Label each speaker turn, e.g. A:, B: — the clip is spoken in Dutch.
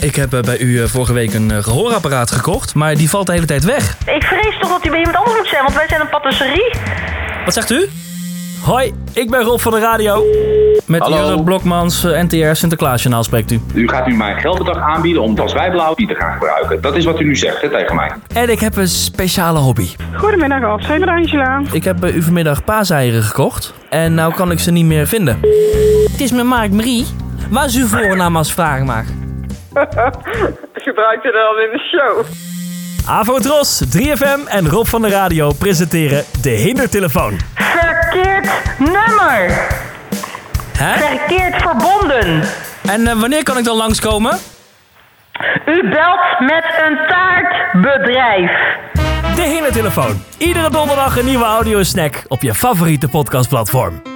A: Ik heb eh, bij u eh, vorige week een eh, gehoorapparaat gekocht, maar die valt de hele tijd weg.
B: Ik vrees toch dat u bij iemand anders moet zijn, want wij zijn een patisserie.
A: Wat zegt u? Hoi, ik ben Rob van de radio. Met
C: Hallo.
A: Jurre Blokmans, eh, NTR Sinterklaasjournaal spreekt u.
C: U gaat nu mij een geldbedrag aanbieden om als wijblauw die te gaan gebruiken. Dat is wat u nu zegt hè, tegen mij.
A: En ik heb een speciale hobby.
D: Goedemiddag, Alzheimer Angela.
A: Ik heb bij u vanmiddag paaseieren gekocht en nou kan ik ze niet meer vinden. Het is met Mark Marie. Waar is uw voornaam als vraag maar?
D: Gebruikt u dat al in de show?
A: Avotros, 3FM en Rob van de Radio presenteren de Hindertelefoon.
B: Verkeerd nummer.
A: Hè?
B: Verkeerd verbonden.
A: En eh, wanneer kan ik dan langskomen?
B: U belt met een taartbedrijf.
A: De Hindertelefoon. Iedere donderdag een nieuwe audiosnack op je favoriete podcastplatform.